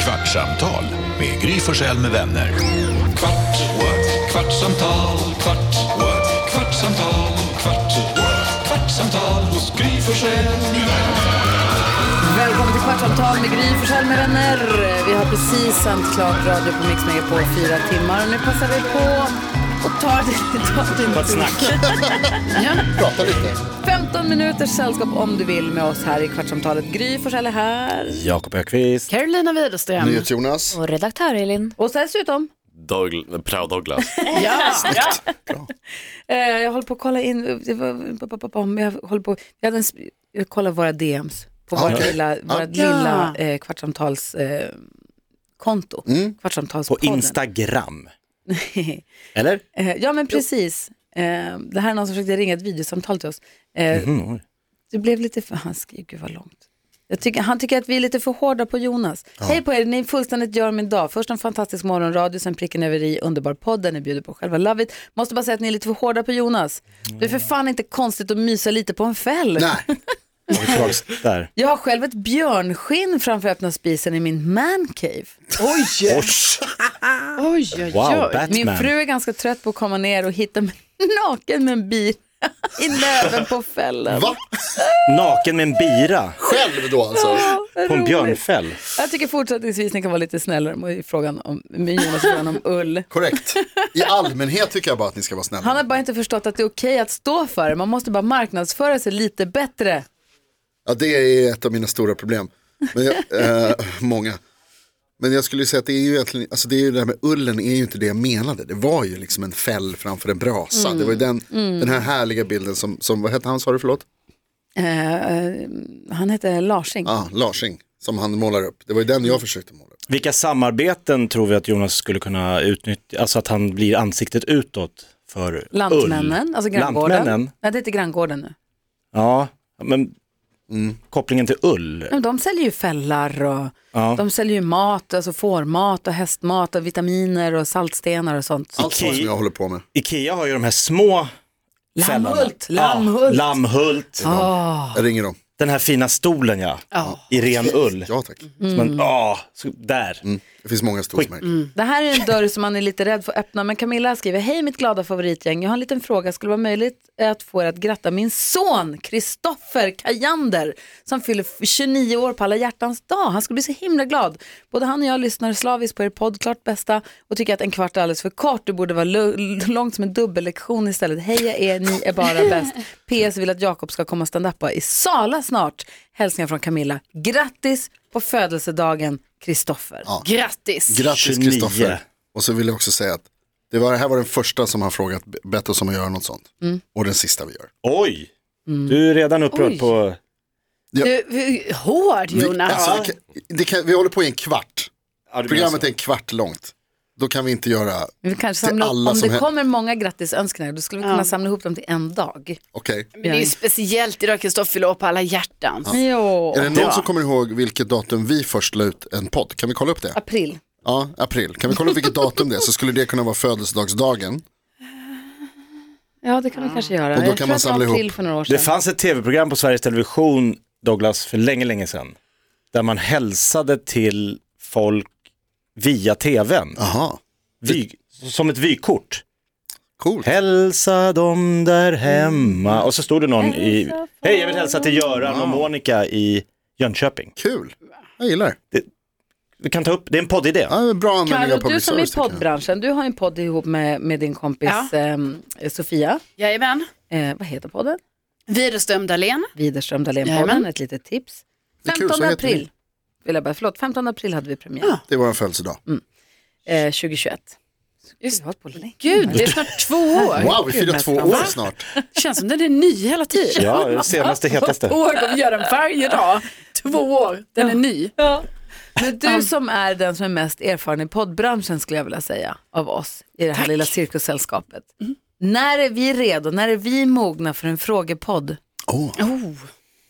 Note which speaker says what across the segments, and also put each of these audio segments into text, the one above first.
Speaker 1: Kvartsamtal med Gry Forssell med vänner. Kvart, what? kvartsamtal, kvart, what? kvartsamtal, kvart, what? kvartsamtal hos Gry Forssell med vänner.
Speaker 2: Välkommen till Kvartsamtal med Gry Forssell med vänner. Vi har precis sänt klart radio på Mix Megapol i fyra timmar och nu passar vi på och tar det, tar det
Speaker 3: Vad snack.
Speaker 2: ja.
Speaker 3: Prata lite.
Speaker 2: 15 minuters sällskap om du vill med oss här i Kvartsamtalet. Gry Forssell är här.
Speaker 4: Jakob Ökvist.
Speaker 2: Carolina Widerström.
Speaker 3: NyhetsJonas.
Speaker 5: Och redaktör Elin.
Speaker 2: Mm. Och sen dessutom
Speaker 6: Doug, Proud Douglas.
Speaker 2: Ja, Eh, jag håller på att kolla in, eh, det var- jag håller på, jag, hade en, sp- jag kollar våra DMs på vårt
Speaker 3: Okej.
Speaker 2: lilla, vårt lilla eh, kvartsamtals, eh, konto.
Speaker 4: På
Speaker 2: Kvartsamtalspodden.
Speaker 4: Instagram. Eller?
Speaker 2: Eh, ja men precis, eh, det här är någon som försökte ringa ett videosamtal till oss. Eh, Det blev lite för, han skrev, gud vad långt. Jag tycker, han tycker att vi är lite för hårda på Jonas. Hej på er, ni fullständigt gör min dag. Först en fantastisk morgonradio, sen pricken över i, underbar podden, ni bjuder på själva Love it. Måste bara säga att ni är lite för hårda på Jonas. Det är för fan inte konstigt att mysa lite på en fäll.
Speaker 3: Nej,
Speaker 4: Och tillbaks där.
Speaker 2: Jag har själv ett björnskinn framför öppna spisen i min mancave.
Speaker 4: Ors.
Speaker 2: Oj, oj, oj.
Speaker 4: Wow, Batman.
Speaker 2: Min fru är ganska trött på att komma ner och hitta mig naken med en bil i löven på fällen.
Speaker 3: va?
Speaker 4: Naken med en bira
Speaker 3: Själv då alltså?
Speaker 2: Vad
Speaker 4: på en
Speaker 2: roligt.
Speaker 4: björnfäll.
Speaker 2: Jag tycker fortsättningsvis ni kan vara lite snällare med frågan om, med Jonas frågan om ull.
Speaker 3: Korrekt. I allmänhet tycker jag bara att ni ska vara snälla.
Speaker 2: Han har bara inte förstått att det är okej att stå för det. Man måste bara marknadsföra sig lite bättre.
Speaker 3: Ja, det är ett av mina stora problem. Men jag, eh, många. Men jag skulle ju säga att det är ju egentligen, alltså det, är ju det här med ullen är ju inte det jag menade. Det var ju liksom en fäll framför en brasa. Det var ju
Speaker 2: Mm.
Speaker 3: den, den här härliga bilden som, som vad hette han sa du förlåt?
Speaker 2: Eh, eh, han heter Larsing.
Speaker 3: Ja, ah, Larsing, som han målar upp. Det var ju den jag försökte måla upp.
Speaker 4: Vilka samarbeten tror vi att Jonas skulle kunna utnyttja? Alltså att han blir ansiktet utåt för
Speaker 2: Lantmännen,
Speaker 4: ull.
Speaker 2: alltså granngården.
Speaker 4: Lantmännen?
Speaker 2: Nej, det heter granngården nu.
Speaker 4: Ja, men
Speaker 3: Mm.
Speaker 4: kopplingen till ull.
Speaker 2: Men de säljer ju fällar och
Speaker 4: Ja.
Speaker 2: de säljer ju mat, alltså fårmat och hästmat och vitaminer och saltstenar och sånt.
Speaker 3: Allt sånt som jag håller på med.
Speaker 4: Ikea har ju de här små fällarna.
Speaker 2: Lammhult,
Speaker 4: Ja,
Speaker 2: lammhult.
Speaker 4: Lammhult.
Speaker 2: Ah.
Speaker 3: Jag ringer dem.
Speaker 4: Den här fina stolen ja, i ren ull.
Speaker 3: Ja Mm. tack.
Speaker 2: Mm.
Speaker 4: Som en, ah, så, där.
Speaker 3: Det finns många stormärken.
Speaker 2: Det här är en dörr som man är lite rädd för att öppna, men Camilla skriver, hej mitt glada favoritgäng, jag har en liten fråga, skulle det vara möjligt att få er att gratta min son Kristoffer Kajander som fyller f- 29 år på alla hjärtans dag. Han skulle bli så himla glad. Både han och jag lyssnar slaviskt på er podd, klart bästa, och tycker att en kvart är alldeles för kort. Det borde vara lu- långt som en dubbellektion istället. Heja er, ni är bara bäst. PS vill att Jakob ska komma och stand-upa i Sala snart. Hälsningar från Camilla. Grattis på födelsedagen Kristoffer.
Speaker 5: Grattis!
Speaker 3: Grattis
Speaker 4: 29.
Speaker 3: Kristoffer. Och så vill jag också säga att det, var, det här var den första som har frågat, bett oss om att göra något sånt.
Speaker 2: Mm.
Speaker 3: Och den sista vi gör.
Speaker 4: Oj, du är redan upprörd på
Speaker 5: Du, vi- hård
Speaker 3: Vi,
Speaker 5: Jonas.
Speaker 3: alltså, det kan, det kan, vi håller på i en kvart.
Speaker 4: Ja, du menar
Speaker 3: Programmet
Speaker 4: så.
Speaker 3: är en kvart långt. Då kan vi inte göra,
Speaker 2: Men Vi kanske
Speaker 3: Till
Speaker 2: samlar,
Speaker 3: alla
Speaker 2: om
Speaker 3: som
Speaker 2: det
Speaker 3: hä-
Speaker 2: kommer många grattisönskningar, då skulle vi kunna
Speaker 5: Ja.
Speaker 2: samla ihop dem till en dag.
Speaker 3: okej.
Speaker 5: Men det är ju speciellt idag Kristoffer fyller år på alla hjärtans.
Speaker 2: Jo.
Speaker 3: Är det någon som kommer ihåg vilket datum vi först la ut en podd? Kan vi kolla upp det?
Speaker 2: April.
Speaker 3: Ja, april. Kan vi kolla upp vilket datum det är? Så skulle det kunna vara födelsedagsdagen.
Speaker 2: Ja, det kan vi kanske göra.
Speaker 3: Och då
Speaker 2: Jag
Speaker 3: kan
Speaker 2: tror
Speaker 3: man
Speaker 2: att det var
Speaker 3: samla ihop.
Speaker 2: april för några år
Speaker 4: Det
Speaker 2: sedan.
Speaker 4: fanns ett tv-program på Sveriges Television, Douglas, för länge, länge sedan. Där man hälsade till folk via tvn.
Speaker 3: Aha,
Speaker 4: Vy, som ett vykort.
Speaker 3: coolt.
Speaker 4: Hälsa dem där hemma. Och så stod det någon i, hej jag vill hälsa till Göran och Monica i Jönköping.
Speaker 3: Kul. Jag gillar
Speaker 4: Vi kan ta upp, det är en poddidé.
Speaker 3: ja, Bra användning
Speaker 2: Carro,
Speaker 3: av
Speaker 2: du
Speaker 3: public
Speaker 2: som är i
Speaker 3: service, tycker jag.
Speaker 2: poddbranschen, du har en podd ihop med, med din kompis
Speaker 5: Ja.
Speaker 2: ehm, Sofia.
Speaker 5: Jajamän.
Speaker 2: Eh, vad heter podden?
Speaker 5: Widerström Dahlén.
Speaker 2: Widerström Dahlén-podden,
Speaker 5: Jajamän.
Speaker 2: ett litet tips.
Speaker 3: Det är kul,
Speaker 2: 15
Speaker 3: så heter
Speaker 2: april.
Speaker 3: vi.
Speaker 2: Vill jag bara, förlåt, 15 april hade vi premiär
Speaker 3: Det är vår födelsedag.
Speaker 2: eh, 2021.
Speaker 5: Ah. Just-
Speaker 2: Vi har hållit på länge.
Speaker 5: Gud, det är snart två år.
Speaker 3: Wow, vi firar
Speaker 2: men
Speaker 3: två år snart.
Speaker 5: Känns som den är ny hela tiden.
Speaker 4: Ja, det senaste hetaste.
Speaker 5: Två år, kommer vi göra den varje dag. Två år, den är ny.
Speaker 2: Men du som är den som är mest erfaren i poddbranschen skulle jag vilja säga av oss i det här lilla cirkussällskapet.
Speaker 5: Mm.
Speaker 2: När är vi redo? När är vi mogna för en frågepodd?
Speaker 3: Åh,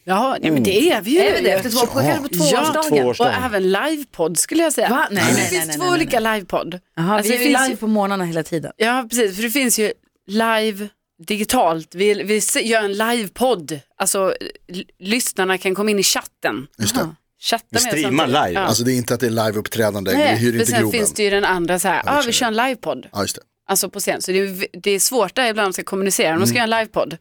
Speaker 5: Ja, nej, men det är vi ju.
Speaker 2: Mm. Är vi det? Efter två, kanske på
Speaker 5: Ja,
Speaker 2: tvåårsdagen?
Speaker 4: tvåårsdagen.
Speaker 5: och även livepodd skulle jag säga.
Speaker 2: Va? Nej, nej,
Speaker 5: det
Speaker 2: nej,
Speaker 5: finns
Speaker 2: nej,
Speaker 5: två
Speaker 2: nej, nej.
Speaker 5: olika livepodd.
Speaker 2: Jaha,
Speaker 5: Alltså,
Speaker 2: vi är
Speaker 5: det
Speaker 2: ju
Speaker 5: finns ju-
Speaker 2: live på morgnarna hela tiden.
Speaker 5: Ja, precis. För det finns ju live digitalt. Vi, vi se- gör en livepodd. Alltså, l- lyssnarna kan komma in i chatten.
Speaker 3: just det.
Speaker 5: chatta
Speaker 4: Vi
Speaker 5: med
Speaker 4: streamar
Speaker 5: samtidigt.
Speaker 4: live.
Speaker 5: Ja.
Speaker 3: Alltså det är inte att det är liveuppträdande, vi
Speaker 5: Nej,
Speaker 3: hyr
Speaker 5: för
Speaker 3: inte
Speaker 5: sen
Speaker 3: Globen.
Speaker 5: finns det ju den andra så här, ah, vi kör en livepodd,
Speaker 3: Ja, just det.
Speaker 5: alltså på scen. Så det är, det är svårt där ibland att ska kommunicera, om de ska
Speaker 3: Mm.
Speaker 5: göra en livepodd,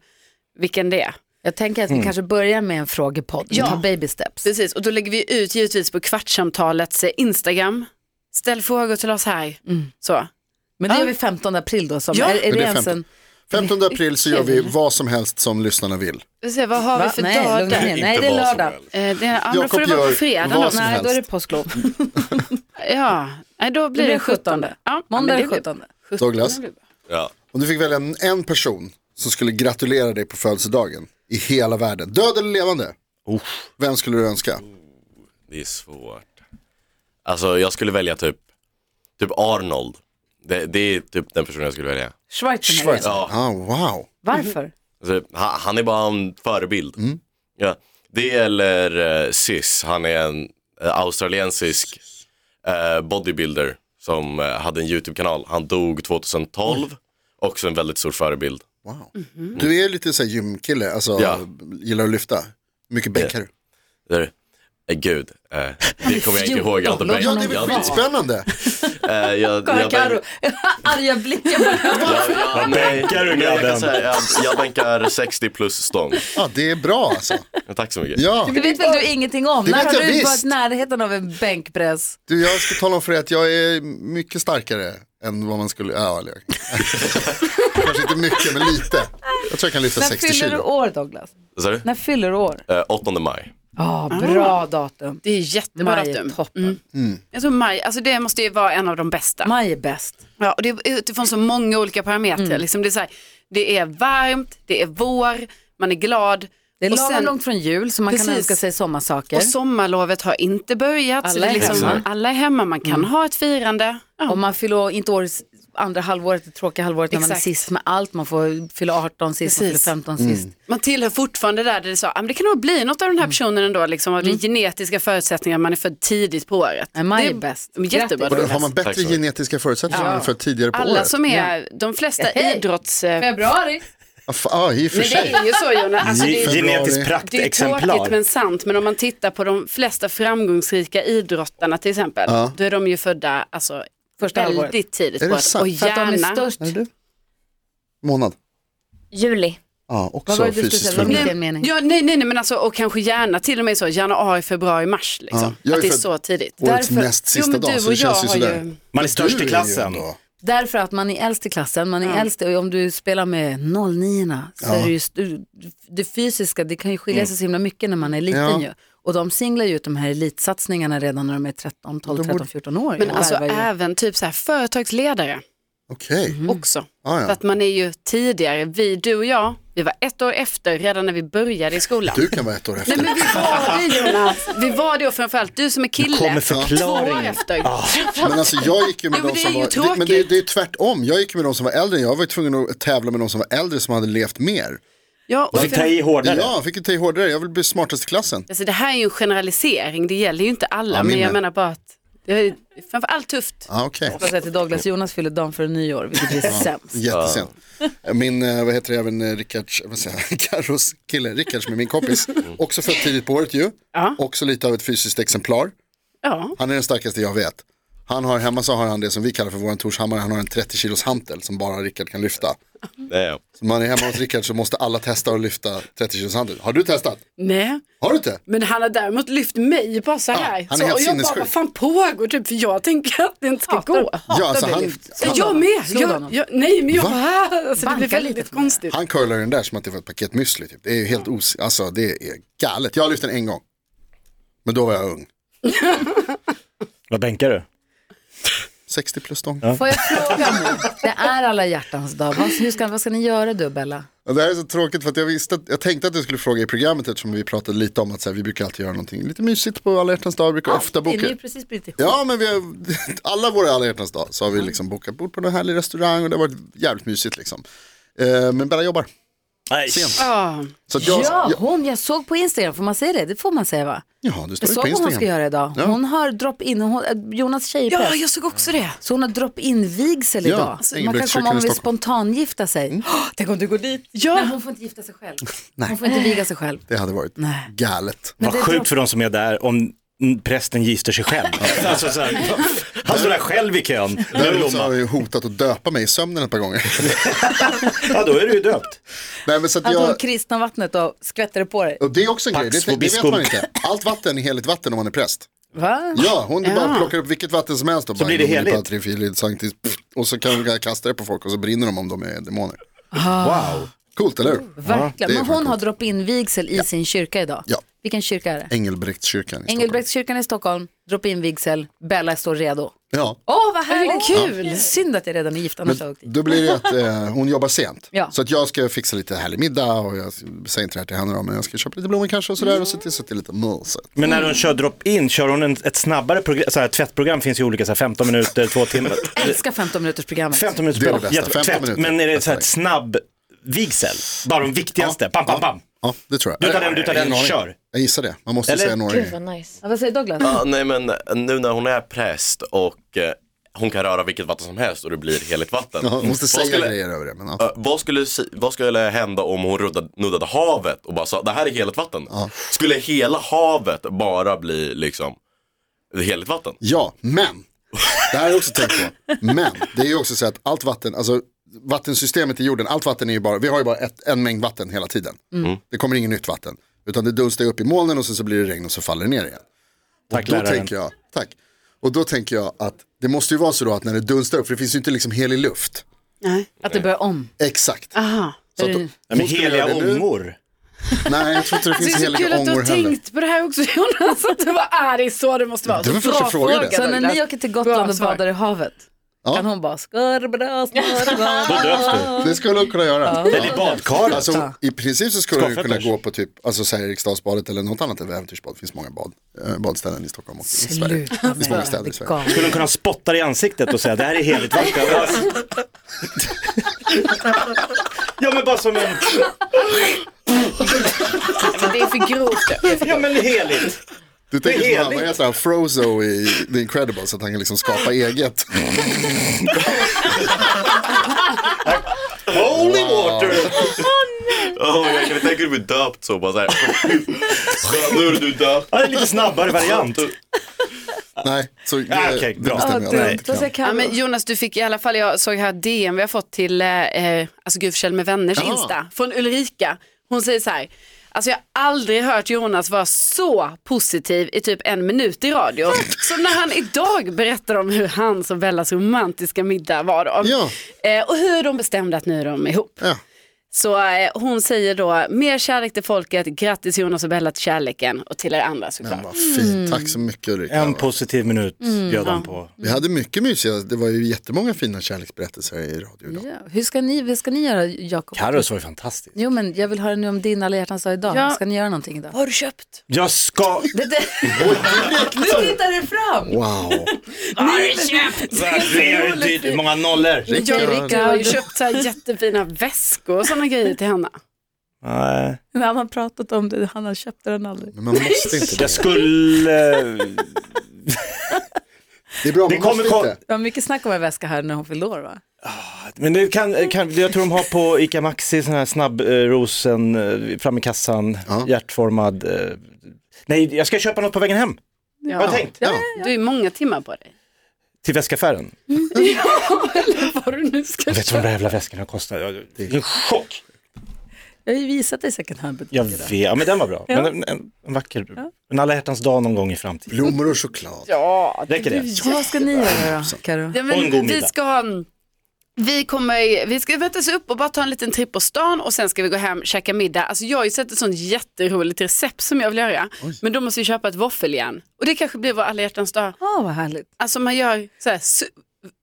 Speaker 5: vilken det är.
Speaker 2: Jag tänker att vi kanske börjar med en frågepodd. Vi
Speaker 5: Ja.
Speaker 2: tar baby steps.
Speaker 5: Precis, och då lägger vi ut givetvis på Kvartssamtalets eh, Instagram. Ställ frågor till oss här.
Speaker 3: Mm.
Speaker 5: Så.
Speaker 2: Men det
Speaker 5: Ja.
Speaker 2: gör vi 15 april då. Som
Speaker 5: Ja.
Speaker 2: är, är
Speaker 3: Men
Speaker 2: det
Speaker 3: det är
Speaker 2: ens
Speaker 3: 15.
Speaker 2: en...
Speaker 3: 15 april så gör vi vad som helst som lyssnarna vill.
Speaker 5: Vi får se, vad har vi
Speaker 2: Va?
Speaker 5: för
Speaker 2: Nej,
Speaker 5: dag
Speaker 2: lugna
Speaker 5: där?
Speaker 2: ner. Nej, det
Speaker 6: Inte
Speaker 2: är
Speaker 6: vad som
Speaker 2: lördag.
Speaker 6: helst.
Speaker 5: Eh, det, ja, men då
Speaker 3: Jakob
Speaker 5: får det vara på
Speaker 3: gör
Speaker 5: fredag.
Speaker 3: vad
Speaker 5: då.
Speaker 3: som
Speaker 2: Nej, då är det
Speaker 3: helst.
Speaker 2: påsklov.
Speaker 5: Ja, nej, då blir
Speaker 2: Det blir
Speaker 5: Mm. det, 17.
Speaker 2: 17.
Speaker 5: Ja,
Speaker 2: Måndag är
Speaker 5: men det
Speaker 2: det
Speaker 5: blir-
Speaker 2: 17.
Speaker 3: Douglas,
Speaker 6: Ja.
Speaker 3: om du fick välja en, en person som skulle gratulera dig på födelsedagen i hela världen, död eller levande,
Speaker 4: Usch.
Speaker 3: vem skulle du önska?
Speaker 6: Det är svårt. Alltså jag skulle välja typ, typ Arnold. Det, det är typ den personen jag skulle välja.
Speaker 2: Schwarzenegger.
Speaker 6: Ja.
Speaker 3: Ah, wow.
Speaker 2: Varför?
Speaker 6: Alltså, han, han är bara en förebild.
Speaker 3: Mm.
Speaker 6: Ja. Det eller uh, Sis, han är en eh, australiensisk eh, bodybuilder som eh, hade en YouTube-kanal. Han dog 2012, också en väldigt stor förebild.
Speaker 3: wow.
Speaker 5: Mhm.
Speaker 3: Du är lite så här gymkille, alltså
Speaker 6: Ja.
Speaker 3: gillar att lyfta. Mycket bänkar du?
Speaker 6: Det är, eh, gud, eh, det kommer jag inte ihåg. Jag har inte
Speaker 2: Låt
Speaker 6: bänkt-
Speaker 3: Ja, det är
Speaker 6: jag
Speaker 3: väl
Speaker 6: har inte-
Speaker 3: skitspännande.
Speaker 6: eh, jag-
Speaker 2: Kolla
Speaker 6: jag bänk-
Speaker 2: Carro, arga blickar. på-
Speaker 6: Ja, ja, nej,
Speaker 4: bänkar du,
Speaker 6: men jag,
Speaker 4: grabben?
Speaker 6: kan säga, jag, jag bänkar 60 plus stång.
Speaker 3: Ja, det är bra alltså.
Speaker 6: Men Tack så mycket.
Speaker 3: Ja.
Speaker 2: Det vet väl du ingenting om?
Speaker 3: Det
Speaker 2: När
Speaker 3: vet
Speaker 2: har
Speaker 3: jag
Speaker 2: du
Speaker 3: visst.
Speaker 2: varit i närheten av en bänkpress?
Speaker 3: Du, jag ska tala om för dig att jag är mycket starkare än vad man skulle, ja, eller, kanske inte mycket men lite. Jag tror jag kan lyfta
Speaker 2: När
Speaker 3: 60
Speaker 2: fyller du
Speaker 3: kilo.
Speaker 2: år Douglas?
Speaker 6: Vad sa du?
Speaker 2: När fyller du år?
Speaker 6: Eh, 8 maj.
Speaker 2: Ja, Ah, bra datum.
Speaker 5: Det är jättebra
Speaker 2: Maj är
Speaker 5: datum.
Speaker 2: toppen.
Speaker 5: Jag tror maj, alltså det måste ju vara en av de bästa.
Speaker 2: Mm. Maj är bäst.
Speaker 5: Ja, och det är utifrån så många olika parametrar.
Speaker 2: Mm.
Speaker 5: Liksom det, är så här, det är varmt, det är vår, man är glad.
Speaker 2: Det är
Speaker 5: och,
Speaker 2: lagom långt från jul så man kan
Speaker 5: Precis.
Speaker 2: önska sig sommarsaker.
Speaker 5: och sommarlovet har inte börjat. så
Speaker 2: Alla
Speaker 5: det är
Speaker 2: är Mm.
Speaker 5: liksom,
Speaker 6: hemma.
Speaker 5: alla är hemma, man kan ha ett firande. Ja.
Speaker 2: Om man fyller år- inte år i s- andra halvåret, det tråkiga halvåret när man är
Speaker 5: Exakt.
Speaker 2: sist med allt. Man får fylla 18 sist, man fyller
Speaker 5: Precis.
Speaker 2: 15 sist.
Speaker 5: Man tillhör fortfarande där, där det, sa, ah, men det kan nog bli något av
Speaker 2: Mm.
Speaker 5: den här personen ändå, liksom, av de genetiska förutsättningarna, man är född tidigt på året.
Speaker 2: Nej, maj
Speaker 5: det
Speaker 2: är bäst.
Speaker 5: Jättebra.
Speaker 3: Och då har
Speaker 5: Douglas.
Speaker 3: man
Speaker 6: Tack
Speaker 3: bättre
Speaker 6: så mycket.
Speaker 3: genetiska förutsättningar än för tidigare på
Speaker 5: Alla
Speaker 3: året.
Speaker 5: som är, de flesta
Speaker 2: Hej.
Speaker 5: idrotts... eh,
Speaker 2: Februari.
Speaker 3: Ja, fa- ja, i och för
Speaker 5: Men det
Speaker 3: sig.
Speaker 5: är ju så Jonas, alltså, det, är-
Speaker 4: Genetiskt
Speaker 5: det är
Speaker 4: praktexemplar.
Speaker 5: tråkigt men sant, men om man tittar på de flesta framgångsrika idrottarna till exempel, då är de ju födda alltså,
Speaker 2: Första
Speaker 5: väldigt
Speaker 2: halvåret.
Speaker 5: tidigt
Speaker 3: Är
Speaker 5: på
Speaker 3: det
Speaker 5: ett,
Speaker 3: sant?
Speaker 5: och
Speaker 2: För att de är
Speaker 5: gärna.
Speaker 2: störst.
Speaker 3: Är det du? Månad.
Speaker 7: Juli.
Speaker 3: Ja,
Speaker 2: Vad var
Speaker 3: också
Speaker 2: det du skulle
Speaker 3: fysiskt
Speaker 2: säga? Vad
Speaker 3: förmögen.
Speaker 2: menar en mening.
Speaker 5: Ja, nej, nej, nej, men alltså, och kanske gärna till och med så januari, februari, mars. Liksom,
Speaker 3: jag är
Speaker 5: att det är
Speaker 3: född-
Speaker 5: så tidigt.
Speaker 3: Årets
Speaker 2: Därför-
Speaker 3: näst sista
Speaker 5: men
Speaker 3: dag,
Speaker 5: du
Speaker 3: så det
Speaker 5: och jag
Speaker 3: känns ju
Speaker 5: har
Speaker 3: sådär.
Speaker 5: ju...
Speaker 4: Man är störst
Speaker 3: Du
Speaker 4: i
Speaker 3: är ju
Speaker 4: klassen.
Speaker 3: ändå-
Speaker 2: Därför att man är äldst i klassen, man är äldst och om du spelar med 09 så är det ju st- det fysiska, det kan ju skilja sig så himla mycket när man är liten
Speaker 3: Ja.
Speaker 2: ju. Och de singlar ju ut de här elitsatsningarna redan när de är 13, 12, 13, 14 år.
Speaker 5: Men
Speaker 2: Och
Speaker 5: alltså
Speaker 2: värvar ju.
Speaker 5: även typ så här, företagsledare
Speaker 3: Okej,
Speaker 5: också.
Speaker 3: Mm. Ah, Ja, ja.
Speaker 5: För att man är ju tidigare, vi, du och jag, vi var ett år efter redan när vi började i skolan.
Speaker 3: du kan vara ett år
Speaker 5: Nej
Speaker 3: efter.
Speaker 5: men vi var det Jonas, vi var det och framförallt du som är kille.
Speaker 4: Kommer
Speaker 5: Två år
Speaker 4: förklaring.
Speaker 5: efter.
Speaker 3: Men alltså jag gick ju med
Speaker 5: Jo, men
Speaker 3: de
Speaker 5: det är
Speaker 3: som
Speaker 5: ju
Speaker 3: var, det, men det,
Speaker 5: tråkigt.
Speaker 3: det är tvärtom, jag gick ju med de som var äldre, jag var ju tvungen att tävla med de som var äldre som hade levt mer.
Speaker 5: Ja, och
Speaker 4: Man fick ta i
Speaker 3: Ja,
Speaker 4: hårdare.
Speaker 3: jag fick ju ta i hårdare, jag vill bli smartast i klassen.
Speaker 5: alltså, det här är ju en generalisering, det gäller ju inte alla,
Speaker 3: Ja, min
Speaker 5: men jag
Speaker 3: med.
Speaker 5: menar bara att det är framförallt tufft.
Speaker 3: Ja, Ah, okej.
Speaker 2: Jag säger till Douglas, Jonas fyller dagen före nyår, vilket är sämst.
Speaker 3: Jättesent. Min, eh, vad heter det, även eh, Rickards, vad säger jag, Carros kille, Rickards med min kompis, också född tidigt på året ju,
Speaker 5: Ja.
Speaker 3: också lite av ett fysiskt exemplar.
Speaker 5: Ja,
Speaker 3: Han är den starkaste jag vet. Han har, hemma så har han det som vi kallar för våran torshammare, han har en 30 kilos hantel som bara Rickard kan lyfta.
Speaker 6: Nej.
Speaker 3: Så när man är hemma hos Rickard så måste alla testa att lyfta 30 kilos hantel. Har du testat?
Speaker 5: nej.
Speaker 3: Har du inte?
Speaker 5: Men han har däremot lyft mig bara så här.
Speaker 3: han är helt
Speaker 5: så, och jag bara,
Speaker 3: sinnessjuk.
Speaker 5: vad fan pågår typ? För jag tänker att det inte ska
Speaker 2: Hatar-
Speaker 5: gå.
Speaker 3: Ja, alltså han,
Speaker 5: Ja, jag med.
Speaker 2: Slå
Speaker 5: Jag,
Speaker 2: honom.
Speaker 5: jag, nej, men jag bara, alltså, det
Speaker 2: Banka
Speaker 5: blir
Speaker 2: lite
Speaker 5: väldigt
Speaker 2: på mig.
Speaker 5: konstigt.
Speaker 3: han curlar den där som att det var ett paket müsli. Typ. Det är ju helt os... Alltså det är galet. Jag har lyft den en gång. Men då var jag ung.
Speaker 4: Vad bänkar du?
Speaker 3: 60 plus stång.
Speaker 2: Får jag fråga nu, det är alla hjärtans dag, vad, hur ska, vad ska ni göra du Bella?
Speaker 3: Ja, Det här är så tråkigt för att jag, visste att jag tänkte att du skulle fråga i programmet eftersom vi pratade lite om att så här, vi brukar alltid göra någonting lite mysigt på alla hjärtans dag. Vi brukar ofta
Speaker 2: Ni är ju
Speaker 3: boka.
Speaker 2: precis blivit ihop.
Speaker 3: Ja men vi har, alla våra alla hjärtans dag så har vi liksom bokat bord på någon härlig restaurang och det har varit jävligt mysigt liksom. Eh, men Bella jobbar.
Speaker 4: Nej.
Speaker 5: Ja,
Speaker 3: Så att jag,
Speaker 2: Ja,
Speaker 3: jag,
Speaker 2: hon, jag såg på Instagram, får man säga det? Det får man säga va?
Speaker 3: ja, du
Speaker 2: Jag
Speaker 3: står ju
Speaker 2: såg
Speaker 3: på
Speaker 2: vad hon
Speaker 3: Instagram.
Speaker 2: ska göra idag.
Speaker 3: Ja.
Speaker 2: Hon har drop-in, hon- eh, Jonas tjejpress.
Speaker 5: ja jag såg också det.
Speaker 2: Så hon har drop-in vigsel
Speaker 3: Ja,
Speaker 2: idag. Man kan
Speaker 3: Engelbrektskyrkan
Speaker 2: komma om
Speaker 3: i
Speaker 2: och vill
Speaker 3: Stockholm.
Speaker 2: spontangifta sig.
Speaker 3: Mm.
Speaker 2: Åh, Tänk om du går dit. Nej,
Speaker 5: Ja,
Speaker 2: hon får inte gifta sig själv. Hon får inte viga sig själv.
Speaker 3: Det hade varit galet.
Speaker 2: Men
Speaker 4: Vad
Speaker 2: det är
Speaker 4: sjukt
Speaker 2: drop-
Speaker 4: för de som är där om mm, prästen gifter sig själv. alltså, så här, han står där själv i kön. med
Speaker 3: Däremot så har
Speaker 4: blomman.
Speaker 3: jag ju hotat att döpa mig i sömnen ett par gånger.
Speaker 4: Ja, då är du ju döpt.
Speaker 3: Nej, men så att
Speaker 2: Att Alltså, hon
Speaker 3: jag,
Speaker 2: kristnar vattnet och skvätter det på dig.
Speaker 3: och det är också en grej,
Speaker 4: Pax
Speaker 3: det, det vet
Speaker 4: vobiscum.
Speaker 3: man inte. Allt vatten är heligt vatten om man är präst.
Speaker 2: Va?
Speaker 3: Ja, hon bara plockar upp vilket vatten som helst och bara,
Speaker 4: blir det
Speaker 3: "Nomini
Speaker 4: heligt."
Speaker 3: Patri Filii Sanctis, pff, och så kan hon kasta det på folk och så brinner de om de är demoner.
Speaker 4: Wow.
Speaker 3: Coolt, eller hur?
Speaker 2: Verkligen.
Speaker 3: det är
Speaker 2: Men
Speaker 3: fan
Speaker 2: hon har drop-in vigsel i sin kyrka idag.
Speaker 3: Ja.
Speaker 2: Vilken kyrka är det?
Speaker 3: Engelbrektskyrkan i Stockholm.
Speaker 2: Engelbrektskyrkan i Stockholm, drop-in vigsel, Bella står redo.
Speaker 3: Ja.
Speaker 2: Åh, vad härligt! Kul! Synd att jag redan är gift, annars hade jag åkt dit.
Speaker 3: Då blir det att eh, hon jobbar sent.
Speaker 2: Ja.
Speaker 3: Så att jag ska fixa lite härlig middag och jag säger inte det här till henne då, men jag ska köpa lite blommor kanske och sådär och se till så att det är lite mysigt.
Speaker 4: Men när hon kör drop-in, kör hon en, ett snabbare program? Så här, tvättprogram finns ju olika, så här, 15 minuter, 2 timmar.
Speaker 2: Älskar 15 minuters programmet.
Speaker 4: 15 minuter
Speaker 3: Det är
Speaker 4: bra.
Speaker 3: det bästa,
Speaker 4: Jättebra.
Speaker 3: 15
Speaker 4: Tvätt,
Speaker 3: minuter.
Speaker 4: Men är det så här, ett
Speaker 3: Perfekt.
Speaker 4: snabb vigsel? Bara de viktigaste? Pam, pam, pam.
Speaker 3: Ja, det tror jag.
Speaker 4: Du tar den, du tar den,
Speaker 3: Ingen aning.
Speaker 4: kör.
Speaker 3: Jag gissar det. Man måste
Speaker 4: Eller-
Speaker 3: säga några
Speaker 7: Gud
Speaker 3: grejer.
Speaker 7: vad nice.
Speaker 2: Ja, vad säger Douglas?
Speaker 6: Ja, nej men eh, nu när hon är präst och eh, hon kan röra vilket vatten som helst och det blir heligt vatten.
Speaker 3: Ja, man måste säga
Speaker 6: vad, skulle,
Speaker 3: grejer över det. Men, ja.
Speaker 6: eh, vad, skulle, si- vad skulle hända om hon ruddade, nuddade havet och bara sa det här är heligt vatten? Skulle hela havet bara bli liksom heligt vatten?
Speaker 3: ja, men. Det här har jag också tänkt på. Men det är ju också så att allt vatten, alltså vattensystemet i jorden, allt vatten är ju bara, vi har ju bara ett, en mängd vatten hela tiden.
Speaker 4: Mm.
Speaker 3: Det kommer inget nytt vatten. Utan det dunstar ju upp i molnen och sen så blir det regn och så faller det ner igen.
Speaker 4: Tack
Speaker 3: Då
Speaker 4: läraren.
Speaker 3: tänker jag, tack. Och då tänker jag att det måste ju vara så då att när det dunstar upp, för det finns ju inte liksom helig luft.
Speaker 5: Nej.
Speaker 2: Att det börjar om.
Speaker 3: Exakt.
Speaker 5: Aha.
Speaker 3: Så att,
Speaker 2: Nej,
Speaker 4: Ja, men
Speaker 3: hon skulle
Speaker 4: heliga
Speaker 3: göra det nu.
Speaker 4: ångor.
Speaker 3: Nej, jag tror inte det
Speaker 5: Alltså, Det
Speaker 3: finns
Speaker 5: är så kul
Speaker 3: heliga
Speaker 5: att du
Speaker 3: ångor
Speaker 5: har
Speaker 3: heller.
Speaker 5: tänkt på det här också Jonas, att du var är det är så det måste vara.
Speaker 3: Det var
Speaker 5: Så bra
Speaker 3: första frågan det.
Speaker 2: Så när
Speaker 5: Douglas.
Speaker 2: ni åker till Gotland
Speaker 5: Bra
Speaker 2: och
Speaker 5: svar.
Speaker 2: badar i havet,
Speaker 3: Ja.
Speaker 2: kan hon bara skurrbra, skurrbra.
Speaker 4: Då döps du.
Speaker 3: Det skulle hon kunna göra.
Speaker 4: Eller i badkaret.
Speaker 3: Alltså, I princip så skulle hon ju kunna
Speaker 4: Skavfötters.
Speaker 3: gå på typ, alltså så här Eriksdalsbadet eller något annat äventyrsbad. Det finns många bad, eh, badställen i Stockholm och i Sverige.
Speaker 2: Sluta
Speaker 3: Det finns många
Speaker 2: med
Speaker 3: städer i
Speaker 2: det.
Speaker 3: Sverige.
Speaker 2: galet.
Speaker 4: Skulle hon kunna spotta dig i ansiktet och säga det här är heligt vatten? ja men bara som en,
Speaker 5: Men det är för grovt.
Speaker 4: ja men heligt.
Speaker 3: Du tänker
Speaker 4: Det är
Speaker 3: som han, vad heter han, Frozo i The Incredibles, så att han kan liksom skapa eget.
Speaker 4: Holy water.
Speaker 6: Oh, jag kan tänka mig döpt så bara så här. nu är du döpt.
Speaker 4: Ja, det är en lite snabbare variant.
Speaker 3: Nej, så det,
Speaker 4: Ah, okej,
Speaker 3: det
Speaker 4: bra.
Speaker 2: Ja,
Speaker 3: bestämmer jag.
Speaker 2: dumt.
Speaker 3: inte.
Speaker 2: Vad säger
Speaker 5: Ja,
Speaker 2: Carro?
Speaker 5: men Jonas, du fick i alla fall, jag såg här DM vi har fått till eh, eh, alltså Gud Forssell med vänners
Speaker 3: Jaha.
Speaker 5: Insta från Ulrika. Hon säger så här, alltså jag har aldrig hört Jonas vara så positiv i typ en minut i radio. Som när han idag berättar om hur hans och Bellas romantiska middag var då.
Speaker 3: Ja.
Speaker 5: Eh, och hur de bestämde att nu är de ihop.
Speaker 3: Ja.
Speaker 5: Så eh, hon säger då, mer kärlek till folket, grattis Jonas och Bella till kärleken och till er andra såklart.
Speaker 3: Vad fint, tack så mycket Ulrika.
Speaker 4: En positiv minut bjöd han på.
Speaker 3: Vi hade mycket mysiga, det var ju jättemånga fina kärleksberättelser i radio idag.
Speaker 2: Ja, Hur ska ni, vad ska ni göra, Jakob?
Speaker 4: Carros var ju fantastisk.
Speaker 2: Jo, men jag vill höra nu om din alla hjärtans dag idag.
Speaker 5: Ja.
Speaker 2: Ska ni göra någonting idag?
Speaker 5: Vad har du köpt?
Speaker 4: Jag ska,
Speaker 2: Det, det, nu hittar du fram!
Speaker 3: Wow.
Speaker 4: det är dyrt. Hur många nollor?
Speaker 5: Jag
Speaker 2: Rickard.
Speaker 5: har ju köpt så här jättefina väskor och sådana grejer till henne.
Speaker 4: Nej.
Speaker 2: Han har pratat om det, han har köpt den aldrig.
Speaker 3: Men man måste inte
Speaker 4: Jag
Speaker 3: det.
Speaker 4: skulle,
Speaker 3: Det är bra,
Speaker 4: Det
Speaker 3: man
Speaker 4: kommer
Speaker 3: måste
Speaker 4: kom-
Speaker 3: inte.
Speaker 2: Det var mycket snack om en väska här när hon fyllde år va?
Speaker 4: men det kan, kan, jag tror de har på ICA Maxi sån här snabbrosen eh, fram i kassan,
Speaker 3: Ja.
Speaker 4: hjärtformad. eh, Nej, jag ska köpa något på vägen hem, har jag tänkt.
Speaker 3: Ja.
Speaker 5: Du är många timmar på dig.
Speaker 4: Till väskaffären.
Speaker 5: Vad du nu ska
Speaker 4: Jag vet vad de där jävla väskorna kostar. Jag- Det är en chock.
Speaker 2: Jag har ju visat dig second hand-butiker.
Speaker 4: Jag vet, ja, men den var bra. Men en, en, en vacker, en alla hjärtans dag någon gång i framtiden.
Speaker 3: Blommor och choklad.
Speaker 4: Räcker det?
Speaker 2: Ja, vad ska ni göra då, Karo?
Speaker 5: Ja,
Speaker 4: Och en god
Speaker 5: men vi
Speaker 4: middag.
Speaker 5: ska ha en- vi kommer, vi ska vänta oss upp och bara ta en liten tripp på stan och sen ska vi gå hem och käka middag. Alltså jag har ju sett ett sånt jätteroligt recept som jag vill göra. Men då måste vi köpa ett våffeljärn. Och det kanske blir vår alla hjärtans dag.
Speaker 2: Ja, vad härligt.
Speaker 5: Alltså man gör så här, su-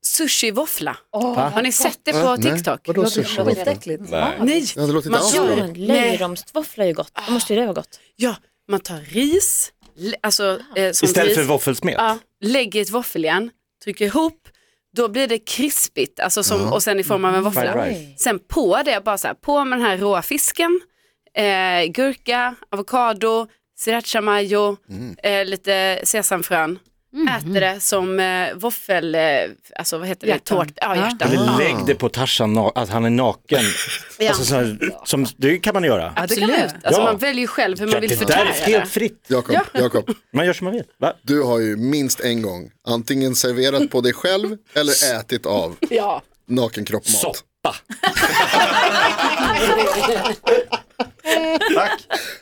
Speaker 5: sushi-våffla. har ni sett det på
Speaker 3: Nej,
Speaker 5: TikTok?
Speaker 3: Vadå
Speaker 2: Det
Speaker 3: sushi?
Speaker 2: låter skitäckligt.
Speaker 6: Nej.
Speaker 5: Nej,
Speaker 3: Ja, det låter inte
Speaker 5: Man
Speaker 3: alls
Speaker 5: gör
Speaker 3: bra.
Speaker 5: det.
Speaker 7: Men löjromsvåffla är ju gott. Då måste ju det vara gott.
Speaker 5: ja, man tar ris, le- alltså eh, sånt
Speaker 4: Istället
Speaker 5: ris.
Speaker 4: för våffelsmet.
Speaker 5: Ja, lägger i ett våffeljärn, trycker ihop, då blir det krispigt alltså som, och sen i form av en
Speaker 4: Mm. Fried
Speaker 5: våffla.
Speaker 4: rice.
Speaker 5: Sen på det, bara så här, på med den här råa fisken, eh,
Speaker 4: Mm.
Speaker 5: gurka, avokado, sriracha mayo, eh, lite sesamfrön äter det som eh, våffel, eh, alltså vad heter det,
Speaker 2: Hjärtan.
Speaker 5: tårta,
Speaker 2: Ja.
Speaker 5: ja hjärtan.
Speaker 4: Eller lägg det på Tarzan, na- att han är naken.
Speaker 5: Ja.
Speaker 4: Alltså, så, som, det kan man göra.
Speaker 2: Ja, det kan
Speaker 5: Absolut,
Speaker 2: man göra.
Speaker 5: alltså
Speaker 4: Ja.
Speaker 5: man väljer ju själv hur man vill
Speaker 4: det där är
Speaker 5: förtära det.
Speaker 4: helt fritt.
Speaker 3: Jakob, Jakob,
Speaker 4: Man gör som man vill. Va?
Speaker 3: du har ju minst en gång antingen serverat på dig själv eller ätit av
Speaker 5: Ja.
Speaker 3: nakenkroppmat.
Speaker 4: Soppa.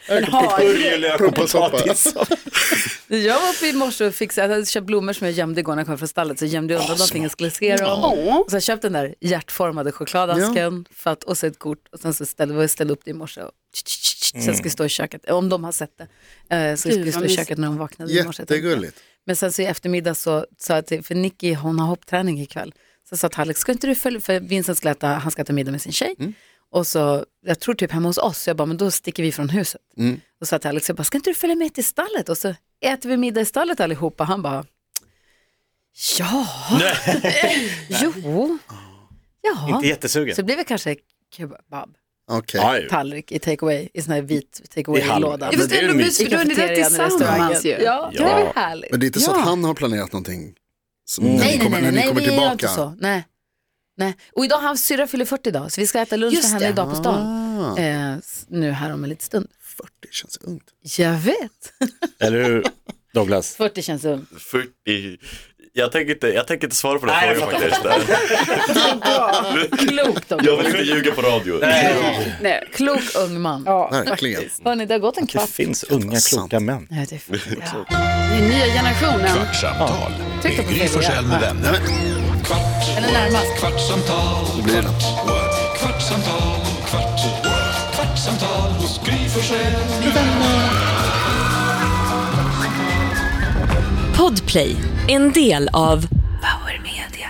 Speaker 4: Örjelök och
Speaker 3: Propasoppa.
Speaker 4: potatis.
Speaker 2: Jag var uppe i morse och fixade, jag hade köpt blommor som jag gömde igår när jag kom från stallet, så gömde jag undan dem för ingen skulle se dem.
Speaker 5: Åh.
Speaker 2: Och så har jag köpt den där hjärtformade chokladasken för att, och så ett kort och sen så ställde jag ställde upp det i morse och sen ska vi stå i köket, om de har sett det, eh, så ska vi
Speaker 5: Mm. vad
Speaker 2: stå i
Speaker 5: mysigt.
Speaker 2: köket när de vaknade i morse.
Speaker 3: Jättegulligt.
Speaker 2: Men sen så i eftermiddag så sa jag till, för Nicky hon har hoppträning ikväll, så sa jag till Alex, ska inte du följa, för Vincent ska äta, han ska äta middag med sin tjej. Och så, jag tror typ hemma hos oss, så jag bara, men då sticker vi från huset. Och sa jag till Alex, jag bara, ska inte du följa med till stallet? Och så äter vi middag i stallet allihopa. Han bara, ja, jo, ja.
Speaker 4: Inte jättesugen.
Speaker 2: Så det blir väl kanske kebab-tallrik
Speaker 3: Okej.
Speaker 4: Ja, ju.
Speaker 2: i takeaway, i sån här vit
Speaker 4: I halv.
Speaker 2: takeaway-låda.
Speaker 4: Ja,
Speaker 5: Ja, fast det
Speaker 4: det är
Speaker 5: är ändå
Speaker 4: ju
Speaker 5: mysigt,
Speaker 2: I
Speaker 5: för då är ni där
Speaker 2: kafeterian i restaurangen.
Speaker 5: tillsammans ju.
Speaker 2: Ja, det
Speaker 4: Ja.
Speaker 2: är väl härligt.
Speaker 3: Men det är inte så
Speaker 2: Ja.
Speaker 3: att han har planerat någonting som när
Speaker 2: Nej,
Speaker 3: ni
Speaker 2: nej,
Speaker 3: kommer,
Speaker 2: nej, nej,
Speaker 3: när ni
Speaker 2: nej,
Speaker 3: kommer
Speaker 2: vi gör inte
Speaker 3: tillbaka.
Speaker 2: så. Nej. Nej. Och idag, hans syrra fyller 40 idag, så vi ska äta lunch
Speaker 5: Just
Speaker 2: med henne
Speaker 5: det.
Speaker 2: idag på stan.
Speaker 3: Ah,
Speaker 2: Eh, s- nu här om en liten stund.
Speaker 3: 40 känns ungt.
Speaker 2: Jag vet.
Speaker 4: Eller hur, Douglas?
Speaker 2: 40 känns ung.
Speaker 6: 40. Jag tänker inte, jag tänker inte svara på den
Speaker 4: Nej,
Speaker 6: frågan
Speaker 4: jag
Speaker 6: faktiskt.
Speaker 2: Klokt också.
Speaker 6: Jag vill inte ljuga på radio.
Speaker 5: Nej.
Speaker 2: Klok ung man.
Speaker 3: Verkligen.
Speaker 2: Hörni, det har gått en
Speaker 4: Det
Speaker 2: kvart.
Speaker 4: finns unga
Speaker 3: sant.
Speaker 4: kloka män.
Speaker 2: Nej, det är fint. Ja.
Speaker 5: Det är nya generationen.
Speaker 1: Kvartsamtal
Speaker 2: Tryck på
Speaker 1: med Gry
Speaker 2: fel,
Speaker 1: Forssell
Speaker 2: ja.
Speaker 1: med vänner. Kvart,
Speaker 2: Eller närmast.
Speaker 1: what? kvartsamtal, kvart, what? kvartsamtal, kvart, what? kvartsamtal hos Gry Forssell med vänner.
Speaker 8: Podplay, en del av
Speaker 9: Power Media.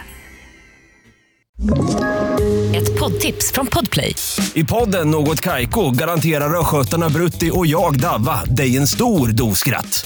Speaker 8: ett poddtips från Podplay.
Speaker 10: I podden Något Kaiko garanterar östgötarna Brutti och jag, Davva, dig en stor dos skratt.